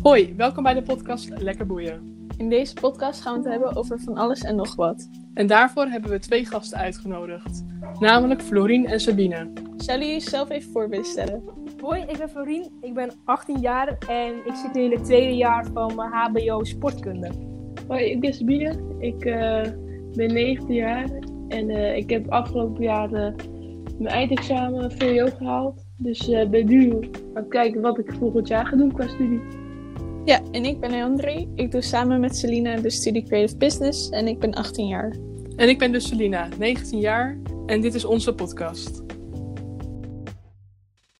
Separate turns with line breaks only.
Hoi, welkom bij de podcast Lekker Boeien.
In deze podcast gaan we het hebben over van alles en nog wat.
En daarvoor hebben we twee gasten uitgenodigd, namelijk Florien en Sabine.
Zouden jullie jezelf even voor willen stellen?
Hoi, ik ben Florien, ik ben 18 jaar en ik zit nu in het tweede jaar van mijn HBO Sportkunde.
Hoi, ik ben Sabine. Ik eh, ben 19 jaar en eh, ik heb afgelopen jaar eh, mijn eindexamen VWO gehaald. Dus eh, ben nu aan het kijken wat ik volgend jaar ga doen qua studie.
Ja, en ik ben André. Ik doe samen met Selina de studie Creative Business en ik ben 18 jaar.
En ik ben dus Selina, 19 jaar, en dit is onze podcast.